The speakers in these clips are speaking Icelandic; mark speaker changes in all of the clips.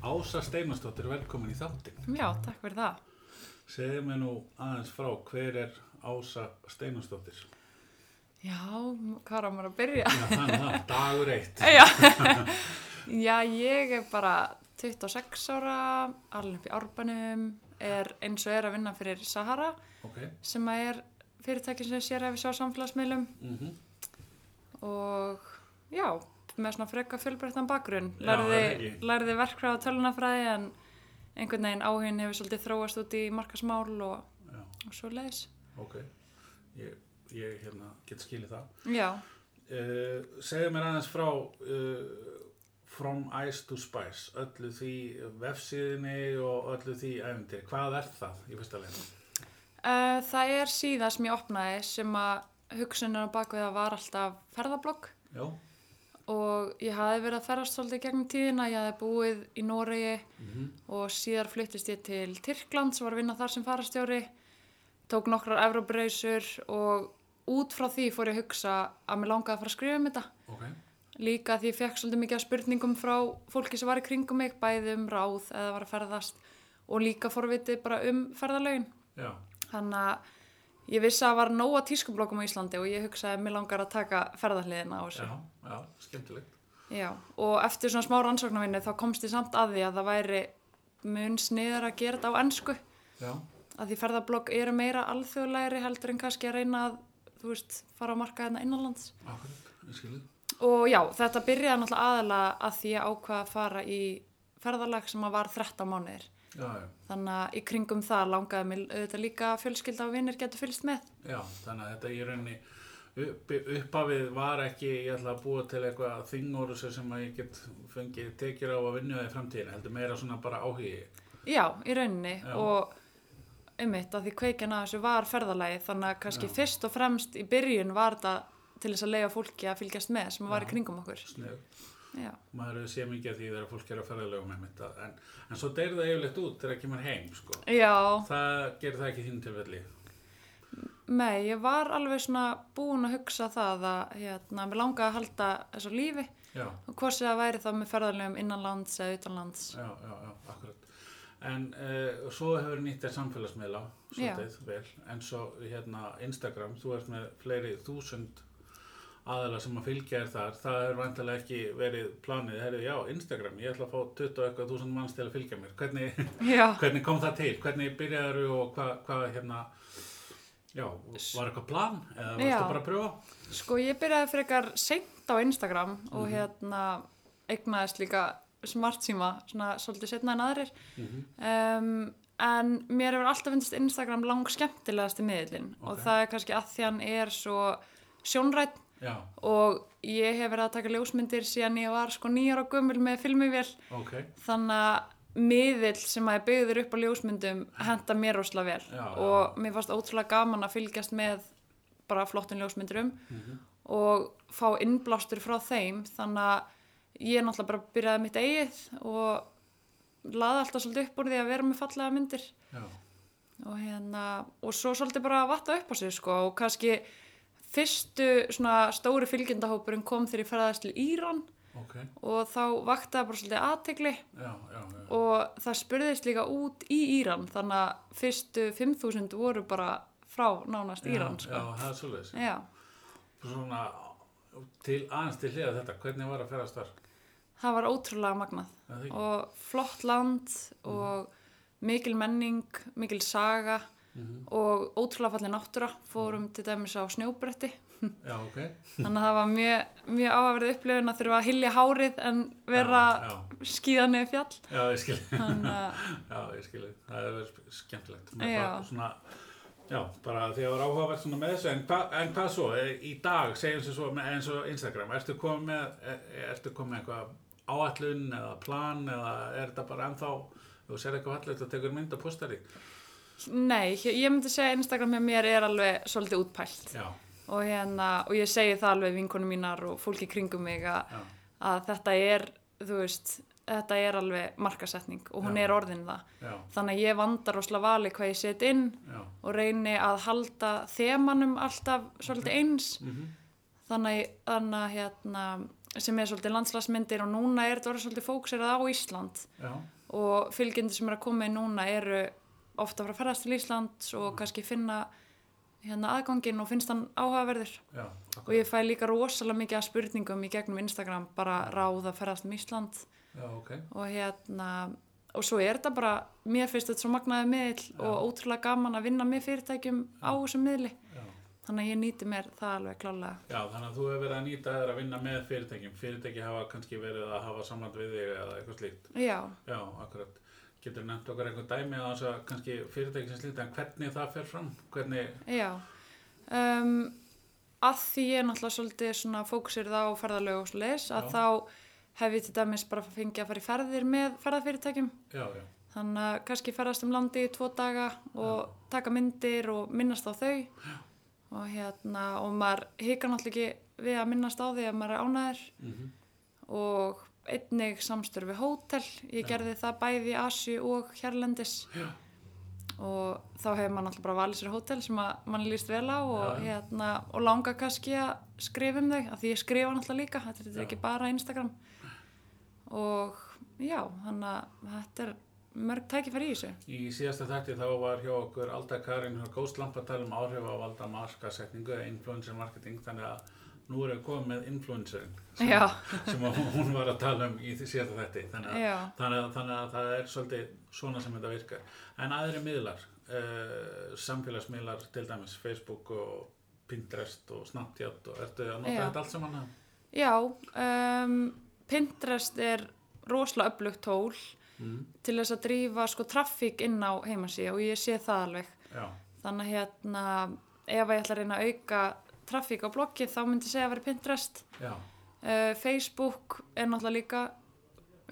Speaker 1: Ása Steinarsdóttir, velkomin í þáttinn.
Speaker 2: Já, takk fyrir það.
Speaker 1: Segðu mér nú aðeins frá, hver er Ása Steinarsdóttir?
Speaker 2: Já, hvað er maður að byrja?
Speaker 1: Já, þannig að það, dagur eitt.
Speaker 2: Já. Já, ég er bara 26 ára, alveg upp í árbanum, er eins og er að vinna fyrir Sahara
Speaker 1: Ok,
Speaker 2: sem að er fyrirtæki sem sér ef við sjá samfélagsmiðlum
Speaker 1: mm
Speaker 2: og já, með svona freka fjölbreyttan bakgrunn.
Speaker 1: Já, það er
Speaker 2: Lærði,
Speaker 1: ekki.
Speaker 2: lærði verkfræð og tölunafræði en einhvern veginn áhugin hefur svolítið þróast út í markasmál og,
Speaker 1: já,
Speaker 2: og svo leiðis.
Speaker 1: ok. Ég, ég hérna, get skilið það.
Speaker 2: Já,
Speaker 1: Uh, segðu mér aðeins frá uh, From Ice to Spice, öllu því vefsíðinni og öllu því æfindir. Hvað er það í fyrsta leginn?
Speaker 2: Uh, það er síðan sem ég opnaði sem að hugsunin á bakvið það var alltaf ferðablogg
Speaker 1: Já,
Speaker 2: og ég hafi verið að ferðast svolítið gegnum tíðina, ég hafi búið í Noregi og síðar fluttist ég til Tyrkland sem var að vinna þar sem farastjóri, tók nokkrar evróbreysur og út frá því fór ég að hugsa að mér langaði að fara að skrifa um þetta.
Speaker 1: ok.
Speaker 2: Líka því ég fekk svolítið mikið af spurningum frá fólki sem var í kringum mig, bæði um ráð eða var að ferðast og líka forvitið bara um ferðalögin.
Speaker 1: Já,
Speaker 2: Þannig að ég vissi að það var nóga tískublokum á Íslandi og ég hugsaði að mér langar að taka ferðarliðina á
Speaker 1: já,
Speaker 2: þessu.
Speaker 1: já, skemmtilegt.
Speaker 2: Já. Og eftir svona smá rannsóknarvinni þá komst ég samt að því að það væri mun sniður að gera þetta á ennsku.
Speaker 1: Já,
Speaker 2: Að því ferðablokk eru meira alþjóðlegri heldur en kannski að reyna að, þú veist, fara á marka hérna innanlands.
Speaker 1: akkurat, ég skilið.
Speaker 2: Og já, þetta byrjaði náttúrulega aðalega að því ég ákvaða að fara í ferðarlag sem að var 13 mánuðir.
Speaker 1: Já, já.
Speaker 2: Þannig að í kringum það langaði mér auðvitað líka að fjölskylda og vinnir getur fylgst með.
Speaker 1: Já, þannig að þetta í rauninni upp, uppafið var ekki ég ætla að búa til eitthvað þingóru sem að ég get fengið tekjur á að vinna það í framtíðin, heldur meira svona bara áhugi
Speaker 2: Já, í rauninni
Speaker 1: Já.
Speaker 2: og einmitt að því kveikjan að þessu var ferðalagi þannig að kannski fyrst og fremst í byrjun var þetta til þess að leiða fólki að fylgjast með sem var í kringum okkur.
Speaker 1: snöð,
Speaker 2: Já,
Speaker 1: maður hefur sé mikið af því þegar fólk er að ferðalega með þetta en, en svo deyr það yfirleitt út þegar það kemur heim sko.
Speaker 2: já
Speaker 1: það gerir það ekki þín tilfelli
Speaker 2: með ég var alveg svona búin að hugsa það að hérna, mér langaði að halda þessu á lífi
Speaker 1: Já,
Speaker 2: og hvort sem það væri þá með ferðalegum innanlands eða utanlands.
Speaker 1: já, já, já, akkurat en uh, svo hefur nýtt þér samfélagsmiðla
Speaker 2: Já.
Speaker 1: svolítið vel, en svo hérna Instagram, þú ert með fleiri þúsund aðala sem að fylgja þér þar, það er vantilega ekki verið planið, herrið, já, Instagram ég ætla að fá 20 og eitthvað þúsund manns til að fylgja mér hvernig,
Speaker 2: Já.
Speaker 1: hvernig kom það til hvernig byrjaður og hvað hva, hérna já, var eitthvað plan eða varstu
Speaker 2: Já.
Speaker 1: bara að pröfa?
Speaker 2: Sko ég byrjaði frekar seint á Instagram og hérna eignaðist líka smartsíma, svona svolítið setna en aðrir. um, en mér hefur alltaf finnst Instagram lang skemmtilegasti miðlinn og
Speaker 1: Ok.
Speaker 2: það er kannski að því hann er svo sjónrætt
Speaker 1: Já,
Speaker 2: og ég hef verið að taka ljósmyndir síðan ég var sko nýjar og gömul með filmivél
Speaker 1: ok
Speaker 2: þannig að miðill sem að ég byggður upp á ljósmyndum henda mér rosalega vel
Speaker 1: Mm. Já, já.
Speaker 2: og mér fannst ótrúlega gaman að fylgjast með bara flottin ljósmyndurum
Speaker 1: Mhm.
Speaker 2: og fá innblástur frá þeim þannig að ég náttúrulega bara byrjaði mitt eigið og laði alltaf svolítið upp úr því að vera með fallega myndir
Speaker 1: já,
Speaker 2: og hérna og svo svolítið bara að vatta upp á sig sko og kannski fyrstu svona stóri fylgjendahópurinn kom þegar ég ferðast til Íran
Speaker 1: ok
Speaker 2: og þá vaktaði bara svolítið aðtegli
Speaker 1: já, já, já,
Speaker 2: og það spurðist líka út í Íran þannig að fyrstu 5000 voru bara frá nánast Íran
Speaker 1: já,
Speaker 2: sko.
Speaker 1: já, það er svoleiðis
Speaker 2: já.
Speaker 1: svona til aðeins til hliða þetta, hvernig var að ferast þar?
Speaker 2: það var ótrúlega magnað
Speaker 1: Er það ekki?
Speaker 2: og flott land og mikil menning, mikil saga
Speaker 1: Mhm.
Speaker 2: og ótrúlega fallið náttúra fórum til dæmis á snjóbretti
Speaker 1: Já, ok.
Speaker 2: þannig að það var mjög, mjög áverð upplifun að þurfa að hilja hárið en vera
Speaker 1: Já,
Speaker 2: skíðan niður fjall
Speaker 1: já, ég skil.
Speaker 2: þannig að
Speaker 1: Já, ég skil. Það er verið skemmtilegt. Maður
Speaker 2: Já.
Speaker 1: bara Svona, já, bara því að það var áhugavert svona með þessu. En, hva, en hvað svo? E, Í dag, segjum sem svo, með, eins og Instagram, ertu komið með, e, ertu komið með eitthvað áallun eða plan eða er þetta bara ennþá, ef þú sér eitthvað fallegt og tekur mynd og postar í?
Speaker 2: nei, ég ég myndi segja að Instagram hjá mér er alveg svolítið útpælt
Speaker 1: Já,
Speaker 2: og, hérna, og ég segi það alveg vinkonu mínar og fólki kringum mig að,
Speaker 1: já,
Speaker 2: að þetta er þú veist, þetta er alveg markasetning og hún
Speaker 1: Já.
Speaker 2: er orðin það
Speaker 1: já,
Speaker 2: þannig að ég vandar rosalega vali hvað ég set inn
Speaker 1: já.
Speaker 2: og reyni að halda þemanum alltaf svolítið eins
Speaker 1: Mm
Speaker 2: þannig, þannig að, hérna, sem er svolítið landslagsmyndir og núna er þetta orðið svolítið fóksirað á Ísland
Speaker 1: Já,
Speaker 2: og fylgjandi sem er að koma í núna eru ofta frá ferðast til Íslands og kannski finna hérna aðgangin og finnst hann áhugaverður
Speaker 1: já,
Speaker 2: og ég fæ líka rosalega mikið að spurningum í gegnum Instagram bara ráða ferðast um Ísland
Speaker 1: já, ok,
Speaker 2: og hérna og svo er þetta bara, mér finnst þetta svo magnaði miðl og ótrúlega gaman að vinna með fyrirtækjum á þessum miðli
Speaker 1: já.
Speaker 2: þannig að ég nýti mér það alveg klálega
Speaker 1: Já, þannig að þú hefur verið að nýta þér að vinna með fyrirtækjum. Fyrirtæki hafa kannski verið að hafa samband við þig eða eitthvað slíkt.
Speaker 2: já,
Speaker 1: Já, akkurat. Getur nefnt okkur einhver dæmi á þess að kannski fyrirtæki sem slíkt, en hvernig það fer fram? Hvernig,
Speaker 2: já um, að því ég er náttúrulega svolítið svona fókusir það á ferðalög og svo að
Speaker 1: Já.
Speaker 2: þá hef ég til dæmis bara fengið að fara í ferðir með ferðafyrirtækjum
Speaker 1: já, já,
Speaker 2: þannig að kannski ferðast um landi í tvo daga og taka myndir og minnast á þau og hérna og maður hikar náttúrulega ekki við að minnast á því að maður er ánæður
Speaker 1: mhm,
Speaker 2: og einnig samstör við hótel ég
Speaker 1: Já.
Speaker 2: gerði það bæði í Asi og hérlendis
Speaker 1: já,
Speaker 2: og þá hefur maður náttúrulega bara valið sér hótel sem að mann líst vel á og,
Speaker 1: Já,
Speaker 2: hérna, og langar kannski að skrifa um þau af því ég skrifa náttúrulega líka, þetta er
Speaker 1: Já.
Speaker 2: ekki bara Instagram og já, þannig að þetta er mörg tækifæri í þessu
Speaker 1: Í síðasta þætti þá var hjá okkur Alda Karin hjá Góðslamp að tala um áhrif á valda markasetningu eða influencer marketing þannig að nú erum við komið með influencerin sem,
Speaker 2: Já.
Speaker 1: sem að hún var að tala um í því síðasta þætti þannig að,
Speaker 2: Já.
Speaker 1: þannig, að, þannig að það er svolítið svona sem þetta virkar en aðri miðlar, uh, samfélagsmiðlar til dæmis Facebook og Pinterest og Snapchat og ertu að nota
Speaker 2: Já.
Speaker 1: þetta allt saman að?
Speaker 2: Já, um, Pinterest er rosalega öflugt tól
Speaker 1: Mm.
Speaker 2: til þess að drífa sko traffík inn á heimasíu og ég sé það alveg
Speaker 1: Já,
Speaker 2: þannig að hérna ef að ég ætla að reyna að auka traffík á bloggið þá myndi ég segja að vera Pinterest
Speaker 1: já,
Speaker 2: uh, Facebook er náttúrulega líka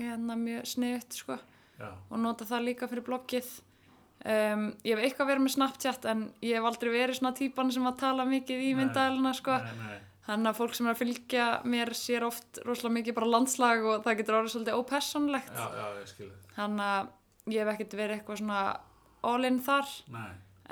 Speaker 2: hérna mjög sniðut sko
Speaker 1: já,
Speaker 2: og nota það líka fyrir bloggið um, ég hef eitthvað verið með Snapchat en ég hef aldrei verið svona típan sem að tala mikið í
Speaker 1: Nei.
Speaker 2: myndaðalina sko
Speaker 1: nei, nei,
Speaker 2: þannig að fólk sem er að fylgja mér sér oft rosalega mikið bara landslag og það getur orðið svolítið ópersonlegt
Speaker 1: já, já, ég skilði,
Speaker 2: þannig að ég hef ekkert verið eitthvað svona all in þar
Speaker 1: nei,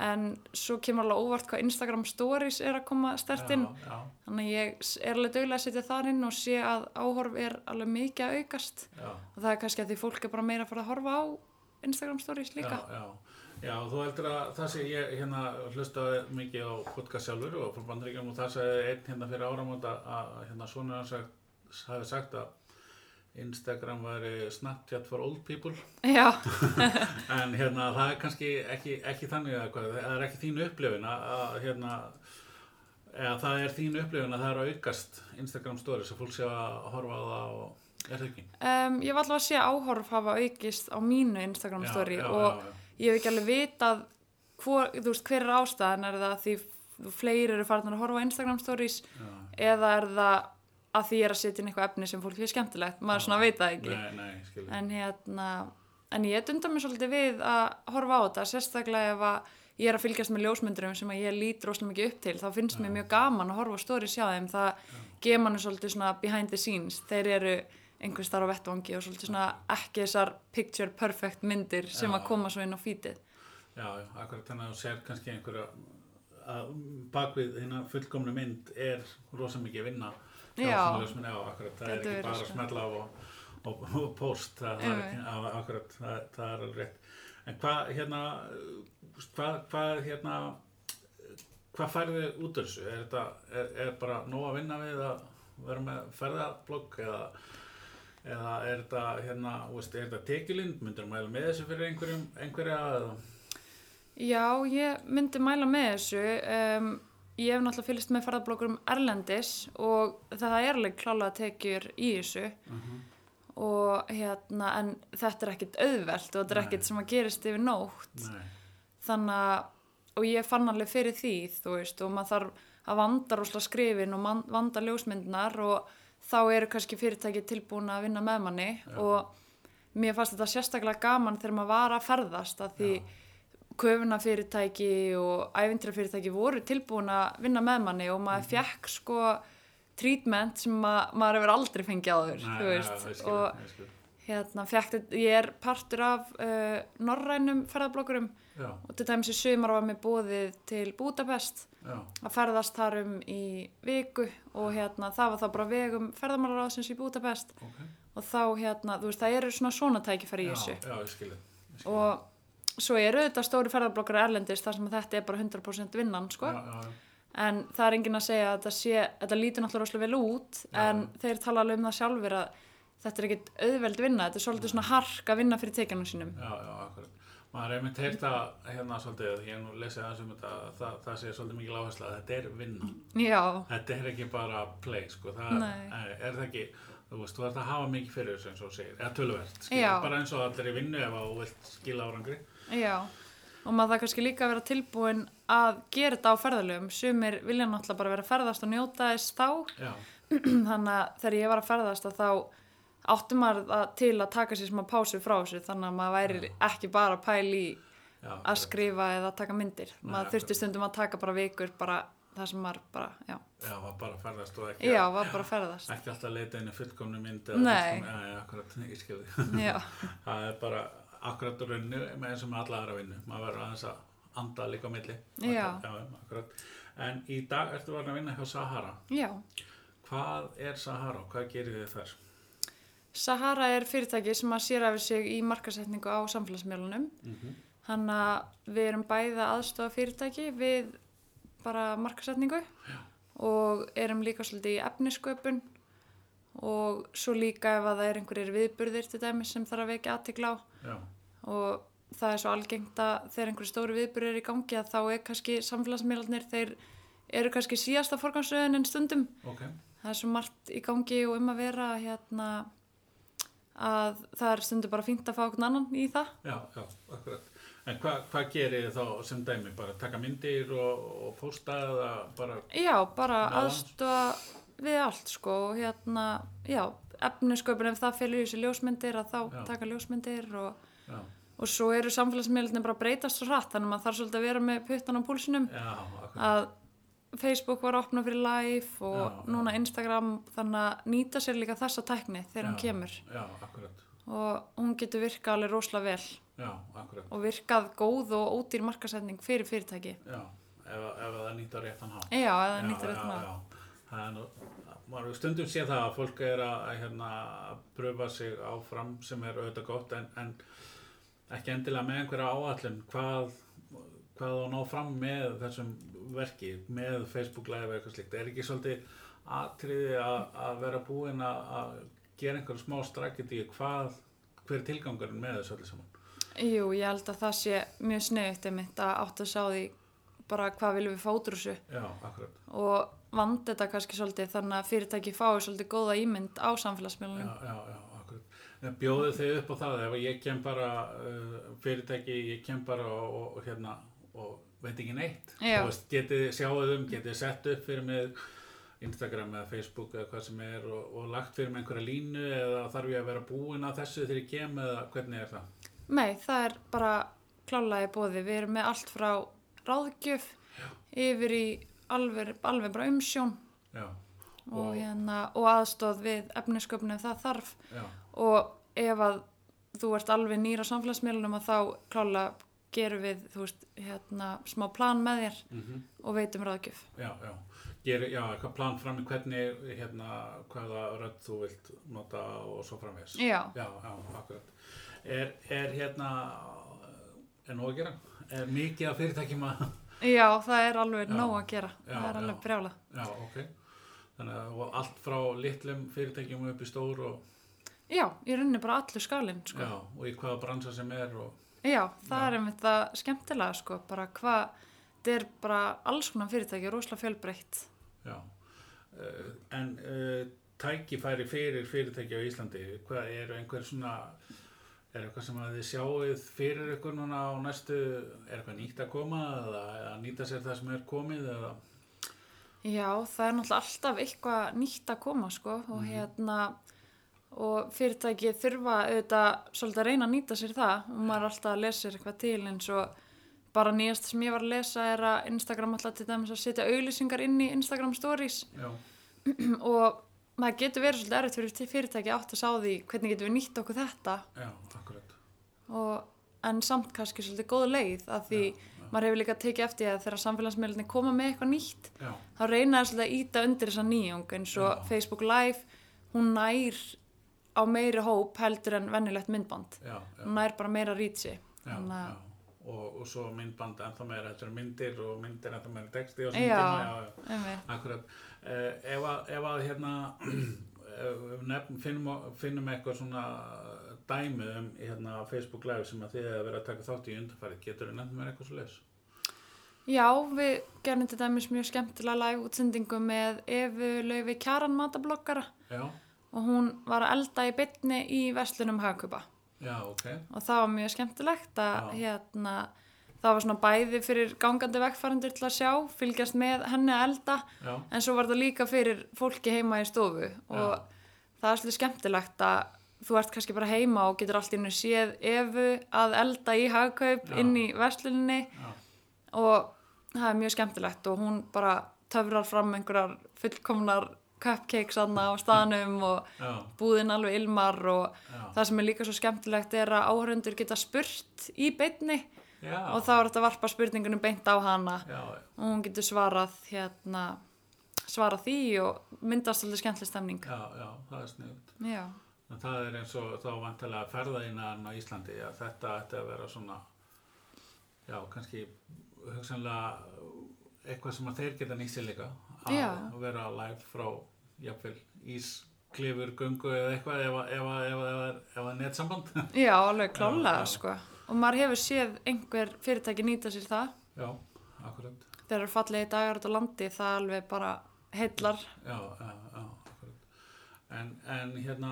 Speaker 2: en svo kemur alveg óvart hvað Instagram stories er að koma stert inn
Speaker 1: já, já,
Speaker 2: þannig að ég s- er alveg dögulega að setja þar inn og sé að áhorf er alveg mikið að aukast
Speaker 1: já.
Speaker 2: og það er kannski að því fólk er bara meira að fara að horfa á Instagram stories líka
Speaker 1: Já, já. já, þú heldur að það sé ég hérna hlustaði mikið á podcast sjálfur og frá bandaríkjum og það sagði einn hérna fyrir áramót að- að hérna svona hans sagt- hafi sagt að Instagram væri Snapchat for old people
Speaker 2: já,
Speaker 1: en hérna það er kannski ekki, ekki þannig að hvað, það er ekki þín upplifun að, að hérna eða það er þín upplifun að það er að aukast Instagram stories að fólk sé að horfa á það og er það ekki?
Speaker 2: um, ég var alveg að sé að áhorf hafa aukist á mínu Instagram
Speaker 1: Já,
Speaker 2: story
Speaker 1: já,
Speaker 2: og
Speaker 1: já, já.
Speaker 2: ég hef ekki alveg vitað hvor, þú veist, hver er ástæðan er það því fleiri eru farin að horfa á Instagram stories
Speaker 1: Já.
Speaker 2: eða er það að því ég er að setja inn eitthvað efni sem fólk fyrir skemmtilegt maður svona veit það ekki
Speaker 1: Nei, nei, skilur
Speaker 2: en hérna en ég dundar mér svolítið við að horfa á þetta sérstaklega ef að ég er að fylgjast með ljósmyndurum sem að ég lít rosalega mikið upp til þá finnst mér mjög gaman að horfa á stories hjá þeim það gefur manni svolítið svona behind the scenes þeir eru einhvers þar á vettvangi og svolítið svona ekki þessar picture perfect myndir sem
Speaker 1: Já.
Speaker 2: að koma svo inn á feedið
Speaker 1: Já, já, akkurat þannig að þú sér kannski einhverja að bakvið hérna fullkomnu mynd er rosa mikið vinna hjá
Speaker 2: Já.
Speaker 1: svona ljósmynd, já, akkurat, það
Speaker 2: Þetta
Speaker 1: er ekki
Speaker 2: verður
Speaker 1: bara að
Speaker 2: sko. Mm.
Speaker 1: smetla af og, og, og post, það, það er ekki,
Speaker 2: Einmitt.
Speaker 1: á, akkurat, það, það er alveg rétt. En hvað, hérna, hvað, hvað, hérna, hvað færðu út af þessu? Er þetta, er, er bara nóg að vinna við að vera með ferðablogg eða, eða er þetta, hérna, þú veist, er þetta tekjulind, myndir mæla með þessu fyrir einhverjum, einhverja eða?
Speaker 2: Já, ég myndi mæla með þessu. Um, ég hef náttúrulega fylgst með ferðablokkurum Erlendis og það er alveg klálega tekjur í þessu og hérna, en þetta er ekkit auðvelt og þetta er
Speaker 1: Nei.
Speaker 2: ekkit sem að gerist yfir nótt.
Speaker 1: Nei,
Speaker 2: Þannig að, og ég fann alveg fyrir því, þú veist, og maður þarf að vanda rosalega skrifin og man, vanda ljósmyndnar og þá eru kannski fyrirtæki tilbúin að vinna með manni og mér fannst þetta sérstaklega gaman þegar maður var að ferðast að því
Speaker 1: Já.
Speaker 2: köfunafyrirtæki og æfintrafyrirtæki voru tilbúin að vinna með manni og
Speaker 1: Mhm.
Speaker 2: maður fekk sko treatment sem ma maður hefur aldrei fengið áður,
Speaker 1: nei,
Speaker 2: þú
Speaker 1: nei,
Speaker 2: veist,
Speaker 1: já, ég skil,
Speaker 2: og
Speaker 1: ég skil.
Speaker 2: hérna fekk þetta, ég er partur af uh, norrænum ferðablokkurum
Speaker 1: Já,
Speaker 2: og til dæmis í sumar var mér bóðið til Budapest
Speaker 1: já,
Speaker 2: að ferðast þar um í viku og hérna það var þá bara vegum ferðamálaráðsins í Budapest
Speaker 1: ok,
Speaker 2: og og þá hérna, þú veist, það eru svona svona tækifæri í þessu
Speaker 1: Já, já, ég skilu. Ég skilu.
Speaker 2: og svo eru auðvitað stóri ferðarblokkar erlendis þar sem að þetta er bara 100% vinnan sko.
Speaker 1: Já, já, já.
Speaker 2: en það er enginn að segja að þetta, sé, þetta lítur náttúrulega rosalega vel út
Speaker 1: Já.
Speaker 2: en þeir tala alveg um það sjálfur að þetta er ekkit auðveld vinna, þetta er svolítið svona hark að vinna fyrir tekjanum sínum
Speaker 1: Já, já, akkurat. Maður er einmitt heyrt að hérna svolítið, ég hef nú lesið aðeins um þetta, að það, það sé svolítið mikil áhersla að þetta er vinna.
Speaker 2: Já,
Speaker 1: Þetta er ekki bara play, sko. Það
Speaker 2: Nei.
Speaker 1: er, er það ekki, þú veist, þú ert að hafa mikið fyrir þessu eins og þú segir, eða tölverð, skilur,
Speaker 2: Já.
Speaker 1: bara eins og allir í vinnu ef að þú vilt skila árangri.
Speaker 2: já og maður það kannski líka að vera tilbúin að gera þetta á ferðalögum sumir vilja náttúrulega bara vera að ferðast og njóta þess þá
Speaker 1: Já,
Speaker 2: þannig að þegar ég var að ferðast að þá átti maður að, til að taka sér smá pásu frá þessu þannig að maður væri ekki bara að pæla í
Speaker 1: já.
Speaker 2: að skrifa eða taka myndir
Speaker 1: Nei,
Speaker 2: maður þurfti stundum að taka bara vikur bara það sem maður bara, já,
Speaker 1: Já, var bara að ferðast og ekki,
Speaker 2: já var bara að ferðast
Speaker 1: ekki alltaf að leita einu fullkomnu mynd. eða
Speaker 2: Nei.
Speaker 1: fullkomnu- Já, já, akkurat, ég skilði.
Speaker 2: já,
Speaker 1: það er bara akkurat úr vinnu með eins og með alla aðra vinnu maður verður aðeins að anda líka á milli
Speaker 2: Já.
Speaker 1: já, akkurat en í dag ertu varin að vinna hjá Sahara
Speaker 2: já
Speaker 1: hvað er Sahara og hvað gerir þið þar
Speaker 2: Sahara er fyrirtæki sem að sér af sig í markasetningu á samfélagsmiðlunum
Speaker 1: mm -hmm.
Speaker 2: Þannig að við erum bæða aðstofa fyrirtæki við bara markasetningu og erum líka svolítið í efnisköpun og svo líka ef að það er einhverjir viðburðir til dæmis sem þarf að vekja aðtikla á
Speaker 1: já,
Speaker 2: og það er svo algengt að þegar einhverjir stóri viðburðir eru í gangi að þá er kannski samfélagsmiðlarnir þeir eru kannski síðasta forgangsröðin en stundum
Speaker 1: ok
Speaker 2: það er svo margt í gangi og um að vera hérna að það er stundum bara fínt að fá okkur annan í það
Speaker 1: já, já, akkurat en hvað, hvað gerir þið þá sem dæmi bara taka myndir og, og posta eða bara
Speaker 2: Já, bara
Speaker 1: Nálægt.
Speaker 2: aðstofa við allt sko og hérna, já, efnisköpun ef það félur í þessi ljósmyndir að þá
Speaker 1: Já.
Speaker 2: taka ljósmyndir og,
Speaker 1: já,
Speaker 2: og svo eru samfélagsmiðlunir bara að breytast svo hratt þannig að maður þarf svolítið að vera með puttan á púlsinum
Speaker 1: já, akkurat
Speaker 2: að Facebook var opnað fyrir live og
Speaker 1: Já, já.
Speaker 2: núna Instagram þannig að nýta sér líka þessa tækni þegar hún
Speaker 1: Já.
Speaker 2: kemur
Speaker 1: já, akkurat
Speaker 2: og hún getur virkað alveg rosalega vel
Speaker 1: já, akkurat
Speaker 2: og virkað góð og ódýr markasetning fyrir fyrirtæki.
Speaker 1: já, ef, ef það nýta réttan hátt
Speaker 2: Já, eða
Speaker 1: Já,
Speaker 2: nýttir
Speaker 1: já,
Speaker 2: þetta maður.
Speaker 1: já. Það er nú, maður hefur stundum sé það að fólk er að, að hérna, pröfa sig áfram sem er auðvitað gott en, en ekki endilega með einhverja áallin hvað, hvað á að ná fram með þessum verki, með Facebook Live eða eitthvað slíkt, er ekki svolítið atriði að, að vera búinn að, að gera einhverju smá strakiti hvað, hver er tilgangurinn með þessu öllu saman
Speaker 2: Jú, ég held að það sé mjög snöðut einmitt að átt að sjá því bara hvað viljum við fá út úr þessu
Speaker 1: Já, akkurat,
Speaker 2: og vand þetta kannski svolítið þannig að fyrirtæki fái svolítið góða ímynd á
Speaker 1: já,
Speaker 2: samfélagsmiðlunum.
Speaker 1: já, já, akkurat. En Bjóðu þið upp á það ef ég kem bara uh, fyrirtæki, ég kem bara og, og, og hérna og veit ekki neitt.
Speaker 2: Já.
Speaker 1: Þú veist, getið þið sjáuð um, getið þið sett upp fyrir mig Instagram eða Facebook eða hvað sem er og, og lagt fyrir mig einhverja línu eða þarf ég að vera búin að þessu þegar ég kem eða hvernig er það?
Speaker 2: Nei, það er bara klálega í bóði. Við erum með allt frá ráðgjöf yfir í alveg, alveg bara umsjón
Speaker 1: Já,
Speaker 2: og,
Speaker 1: Og-
Speaker 2: hérna, og aðstóð við efnisköpnum ef það þarf
Speaker 1: já,
Speaker 2: og ef að þú ert alveg nýr á samfélagsmiðlunum að þá klálega gerum við, þú veist, hérna, smá plan með þér
Speaker 1: mhm.
Speaker 2: og veitum ráðgjöf.
Speaker 1: já, já. Ger, já, eitthvað plan fram í hvernig, hérna, hvaða rödd þú vilt nota og svo framvegis.
Speaker 2: Já,
Speaker 1: Já, já, akkurat. Er, er hérna, er nóg að gera? Er mikið af fyrirtækjum að,
Speaker 2: já, það er alveg
Speaker 1: Já.
Speaker 2: nóg að gera,
Speaker 1: Já,
Speaker 2: það er alveg
Speaker 1: já.
Speaker 2: brjála.
Speaker 1: já, ok. Þannig að og allt frá litlum fyrirtækjum upp í stór og,
Speaker 2: Já, ég runni bara allur skalinn, sko.
Speaker 1: já, og í hvaða bransa sem er og,
Speaker 2: Já, það
Speaker 1: Já.
Speaker 2: er einmitt það skemmtilega, sko, bara hvað, þetta er bara alls konar fyrirtæki, rosalega fjölbreytt.
Speaker 1: já. Uh, en uh, tækifæri fyrir fyrirtæki á Íslandi, hvað eru einhver svona, er eitthvað sem að þið sjáuð fyrir ykkur núna á næstu, er eitthvað nýtt að koma eða, eða nýta sér það sem er komið eða,
Speaker 2: Já, það er náttúrulega alltaf eitthvað nýtt að koma, sko, og
Speaker 1: Mhm.
Speaker 2: hérna, og fyrirtæki þurfa auðvitað svolítið að reyna að nýta sér það og maður er alltaf að lesa sér eitthvað til eins og bara nýjast sem ég var að lesa er að Instagram alltaf til dæmis að setja auglýsingar inn í Instagram stories
Speaker 1: já,
Speaker 2: og maður getur verið svolítið erfitt fyrir til fyrirtæki að átt að sá því hvernig getum við nýtt okkur þetta
Speaker 1: já, akkurat.
Speaker 2: og, en samt kannski svolítið góð leið af því
Speaker 1: Já, já.
Speaker 2: maður hefur líka tekið eftir því að þegar samfélagsmiðlunni koma með eitthvað nýtt
Speaker 1: Já,
Speaker 2: þá reyna þær svolítið að íta undir þessa nýjung eins og
Speaker 1: Já.
Speaker 2: Facebook Live hún nær á meiri hóp heldur en vennilegt myndband
Speaker 1: já, já,
Speaker 2: hún nær bara meira rítsi
Speaker 1: já,
Speaker 2: þannig að
Speaker 1: já. Og, og svo myndband ennþá meira þetta eru myndir og myndir ennþá meira texti og sem
Speaker 2: Já.
Speaker 1: tíma, já, já.
Speaker 2: einmitt.
Speaker 1: Akkurat, uh, ef, að, ef að hérna ef nefn, finnum, finnum eitthvað svona dæmi um hérna Facebook live sem að þið hefur verið að taka þátt í undanfærið, getur þið nefnum mér eitthvað svo leis?
Speaker 2: Já, við gerum til dæmis mjög skemmtilega live útsendingu með Evu Laufi Kjaran matabloggara
Speaker 1: Já,
Speaker 2: og hún var að elda í bytni í Veslunum Hagkupa
Speaker 1: já, ok,
Speaker 2: og það var mjög skemmtilegt að
Speaker 1: Já.
Speaker 2: hérna, það var svona bæði fyrir gangandi vegfærandur til að sjá, fylgjast með henni að elda
Speaker 1: já,
Speaker 2: en svo var það líka fyrir fólki heima í stofu og
Speaker 1: Já.
Speaker 2: það er svolítið skemmtilegt að þú ert kannski bara heima og getur allt í hennu séð efu að elda í hagkaup
Speaker 1: Já.
Speaker 2: inn í versluninni
Speaker 1: já,
Speaker 2: og það er mjög skemmtilegt og hún bara töfrar fram einhverjar fullkomnar cupcakes aðna á staðnum og
Speaker 1: já,
Speaker 2: búðin alveg ilmar og
Speaker 1: já,
Speaker 2: það sem er líka svo skemmtilegt er að áhörundur geta spurt í beinni
Speaker 1: já,
Speaker 2: og þá er þetta varpa spurningunum beint á hana
Speaker 1: já,
Speaker 2: og hún getur svarað hérna, svarað því og myndast alveg skemmtileg stemning
Speaker 1: já, já, það er sniðt.
Speaker 2: Já,
Speaker 1: En það er eins og þá vantilega ferðaðinnan á Íslandi að þetta ætti að vera svona já, kannski hugsanlega eitthvað sem að þeir geta nýtt sér líka að
Speaker 2: Já.
Speaker 1: vera live frá jafnvel ísklifur, gungu eða eitthvað ef, að- ef, að- ef, ef, ef, ef það er netsamband
Speaker 2: Já alveg klálega
Speaker 1: já.
Speaker 2: sko og maður hefur séð einhver fyrirtæki nýta sér það
Speaker 1: Já, akkurat
Speaker 2: þegar eru fallegi dagar út á landi það alveg bara heillar
Speaker 1: Já, já, já, akkurat en, en hérna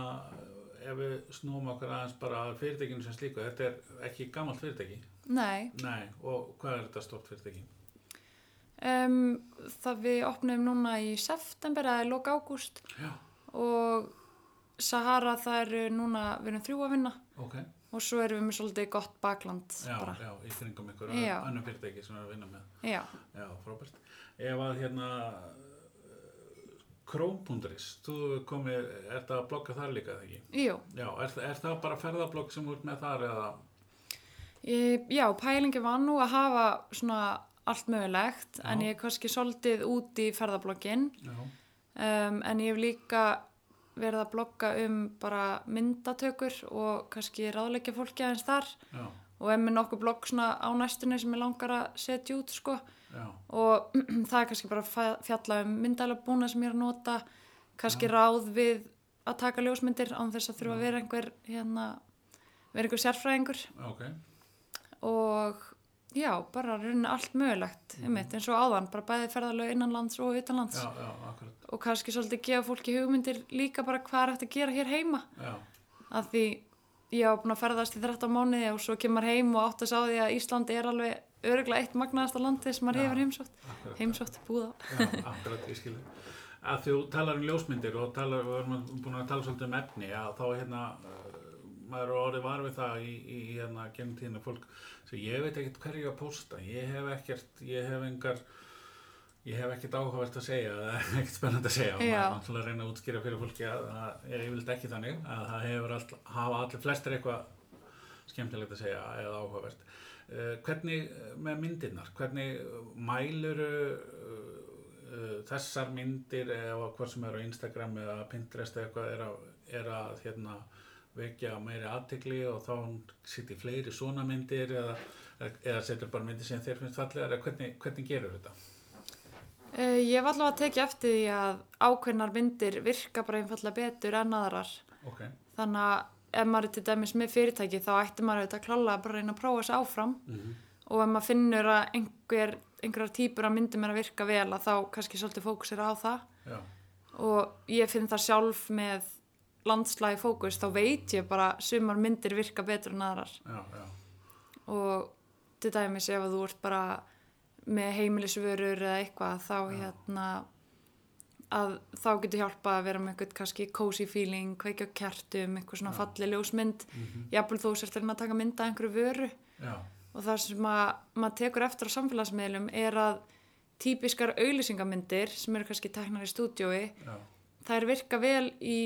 Speaker 1: ef við snúum okkur aðeins bara að fyrirtækinu sem slíku, þetta er ekki gamalt fyrirtæki
Speaker 2: Nei,
Speaker 1: Nei, og hvað er þetta stort fyrirtæki?
Speaker 2: um, það við opnum núna í september eða í loka ágúst
Speaker 1: Já,
Speaker 2: og Sahara það eru núna, við erum þrjú að vinna
Speaker 1: ok
Speaker 2: og svo erum við með svolítið gott bakland
Speaker 1: já,
Speaker 2: bara.
Speaker 1: já, í kringum ykkur
Speaker 2: Já.
Speaker 1: annu fyrirtæki sem er að vinna með
Speaker 2: Já.
Speaker 1: já, frábært ef að hérna Chrome.is, þú komið er það að blogga þar líka eða ekki
Speaker 2: Jú,
Speaker 1: já, er, er það bara ferðablogg sem þú ert með þar eða
Speaker 2: e, já, pælingi var nú að hafa svona allt mögulegt
Speaker 1: Já.
Speaker 2: en ég er kannski svolítið út í ferðablokkin
Speaker 1: já,
Speaker 2: um, en ég hef líka verið að blogga um bara myndatökur og kannski ráðleggja fólki aðeins þar
Speaker 1: já,
Speaker 2: og er með nokkuð blogg svona á næstunni sem ég langar að setja út sko
Speaker 1: já,
Speaker 2: og það er kannski bara að fa- fjalla um myndalabúna sem ég er að nota kannski ráð við að taka ljósmyndir án þess að þurfa að vera einhver hérna, vera einhver sérfræðingur
Speaker 1: ok
Speaker 2: og já, bara raunin allt mögulegt um mitt, eins og áðan, bara bæði ferðalög innanlands og utanlands
Speaker 1: Mhm. já, já, akkurat
Speaker 2: og kannski svolítið gefa fólki hugmyndir líka bara hvað er hægt að gera hér heima
Speaker 1: já,
Speaker 2: að því ég var búin að ferðast í 13 mánuði og svo kemur heim og átt að sá því að Ísland er alveg öruglega eitt magnaðasta landið sem maður
Speaker 1: Já.
Speaker 2: hefur heimsótt
Speaker 1: akkurat
Speaker 2: heimsótt búða
Speaker 1: já, akkurat, ég skil þig. að þú talar um ljósmyndir og talar, við erum búin að tala svolítið um efni að þá hérna eh, maður er orðið var við það í, í hérna gennum tíðinu fólk sem ég veit ekkert hverju að posta ég hef ekkert, ég hef engar ég hef ekkert áhugavert að segja eða ekkert spennandi að segja og maður
Speaker 2: Já.
Speaker 1: er náttúrulega að reyna að útskýra fyrir fólki að það er yfirleitt ekki þannig að það hefur all, hafa allir flestir eitthvað skemmtilegt að segja eða áhugavert uh, hvernig eh, með myndirnar hvernig mæluru uh, þessar myndir eða hvað sem er á Instagram eða Pinterest eða eitthvað er að, er að hérna, vekja meiri aðtegli og þá sittir fleiri svona myndir eða, eða setur bara myndir sem þér finnst fallegar eða hvernig, hvernig gerur þetta?
Speaker 2: Uh, ég var allavega að tekja eftir því að ákveðnar myndir virka bara einfallega betur en aðrar.
Speaker 1: Ok,
Speaker 2: Þannig að ef maður er til dæmis með fyrirtæki þá ætti maður auðvitað að klála að bara reyna að prófa þessi áfram
Speaker 1: Mhm.
Speaker 2: og ef maður finnur að einhver, einhverjar típur af myndum er að virka vel að þá kannski svolítið fókusir á það
Speaker 1: já,
Speaker 2: og ég finn það sjálf með landslægi fókus þá veit ég bara að sumar myndir virka betur en aðrar
Speaker 1: já, já,
Speaker 2: og til dæmis ef að þú ert bara með heimilisvörur eða eitthvað þá hérna að þá getur hjálpa að vera með eitthvað kannski cozy feeling, kveikja á kertum eitthvað svona falli ljósmynd jafnvel þú sért að reyna að taka mynda einhverju vöru
Speaker 1: já,
Speaker 2: og það sem að maður tekur eftir á samfélagsmiðlum er að típiskar auglýsingamyndir sem eru kannski teknar í stúdiói
Speaker 1: já,
Speaker 2: þær virka vel í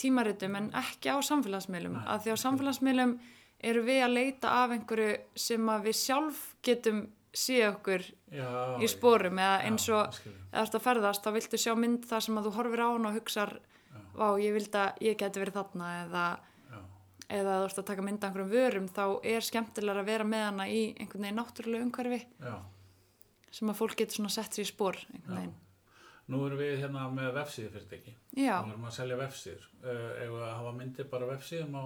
Speaker 2: tímaritum en ekki á samfélagsmiðlum
Speaker 1: Nei,
Speaker 2: að því á samfélagsmiðlum eru við að leita af einhverju sem að við sjálf getum séð okkur
Speaker 1: já.
Speaker 2: í spórum eða eins
Speaker 1: Já,
Speaker 2: og
Speaker 1: ég skil þig.
Speaker 2: eða ert að ferðast þá viltu sjá mynd þar sem að þú horfir á hann og hugsar vá, ég vildi að ég geti verið þarna eða,
Speaker 1: já,
Speaker 2: eða þú ert að taka mynda einhverjum vörum þá er skemmtilega að vera með hana í einhvern veginn náttúrulega umhverfi
Speaker 1: já.
Speaker 2: sem að fólk getur svona sett sér í spór einhvern veginn.
Speaker 1: Nú erum við hérna með vefsíðu fyrirtæki.
Speaker 2: Já,
Speaker 1: Nú erum við að selja vefsíður. Uh, eigum við að hafa myndir bara af vefsíðum á,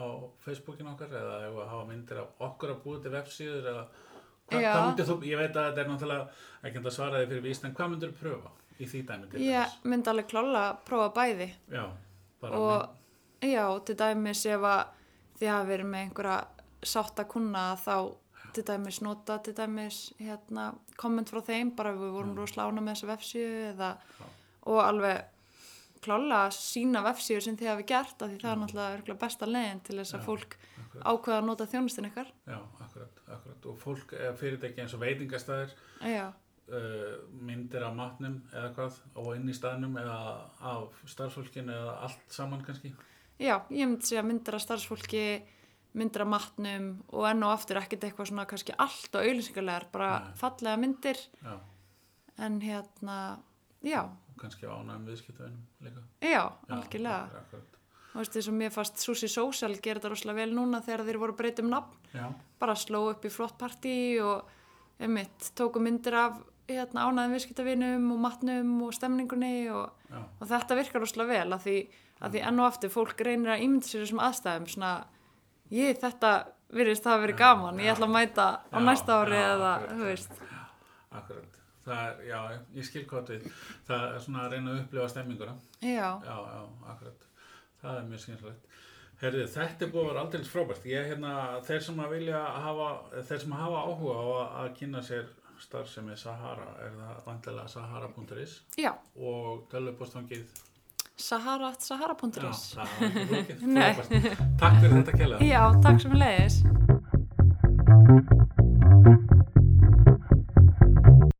Speaker 1: á Facebookin okkar eða eigum við að hafa myndir af okkur að búið til vefsíður eða hva,
Speaker 2: Já.
Speaker 1: hvað myndir þú, ég veit að þetta er náttúrulega ekki hægt að svara því fyrir víst, en hvað myndir þú pröfa í því dæmi til
Speaker 2: ég myndi alveg klála að prófa bæði
Speaker 1: þess? Já, bara
Speaker 2: og já, til dæmis ef að þið hafi verið með einhverja sátta kuna þá til dæmis nota til dæmis hérna, komment frá þeim bara við vorum mm. roslána með þessa vefsíu eða,
Speaker 1: Já.
Speaker 2: og alveg klála að sína vefsíu sem þið hafi gert af því það er náttúrulega örugglega besta leiðin til þess
Speaker 1: Mm. Já,
Speaker 2: að fólk
Speaker 1: akkurat.
Speaker 2: ákveða að nota þjónustin ykkar
Speaker 1: Já, akkurat, akkurat. Og fólk, eh, fyrirtæki eins og veitingastæðir,
Speaker 2: já,
Speaker 1: uh, myndir af matnum eða hvað, og inn í staðnum eða af starfsfólkinu eða allt saman kannski.
Speaker 2: já ég myndi segja myndir af starfsfólki myndir af matnum og enn og aftur ekkert eitthvað svona kannski allt og auðlýsingarlegar bara
Speaker 1: Nei.
Speaker 2: fallega myndir
Speaker 1: Já,
Speaker 2: en hérna, já
Speaker 1: og kannski ánægum viðskiptavinnum líka.
Speaker 2: Já,
Speaker 1: Já,
Speaker 2: algjörlega.
Speaker 1: akkurat, akkurat.
Speaker 2: Og veist þess að mér fannst Susi Social gera þetta rosalega vel núna þegar þeir voru að breyta um nafn,
Speaker 1: Já,
Speaker 2: bara sló upp í flott partí og einmitt, tóku myndir af hérna, ánæðum viðskiptavinum og matnum og stemningunni og,
Speaker 1: já,
Speaker 2: og þetta virkar rosalega vel að því, að því enn og aftur fólk reynir að ímynda sér þessum aðstæðum svona, ég þetta virðist það að vera
Speaker 1: Já,
Speaker 2: gaman, ég
Speaker 1: já.
Speaker 2: ætla að mæta á
Speaker 1: Já,
Speaker 2: næsta ári
Speaker 1: já,
Speaker 2: eða,
Speaker 1: akkurat.
Speaker 2: þú veist,
Speaker 1: akkurat. Það er, já, ég skil hvað við. Það er svona að reyna að upplifa stemminguna.
Speaker 2: já,
Speaker 1: Já, já, akkurat. Það er mjög skynslegt. Herðið, þetta er búið að vera aldrei frábært. Ég, hérna, þeir sem að vilja hafa, þeir sem hafa áhuga á að, að kynna sér starfsemi Sahara, er það vantilega sahara.is
Speaker 2: já,
Speaker 1: og tölvupostfangið.
Speaker 2: sahara.sahara.is.
Speaker 1: Já, það er ekki flókið.
Speaker 2: Nei.
Speaker 1: Frábært. Takk fyrir þetta kjælega.
Speaker 2: Já, takk sem leiðis.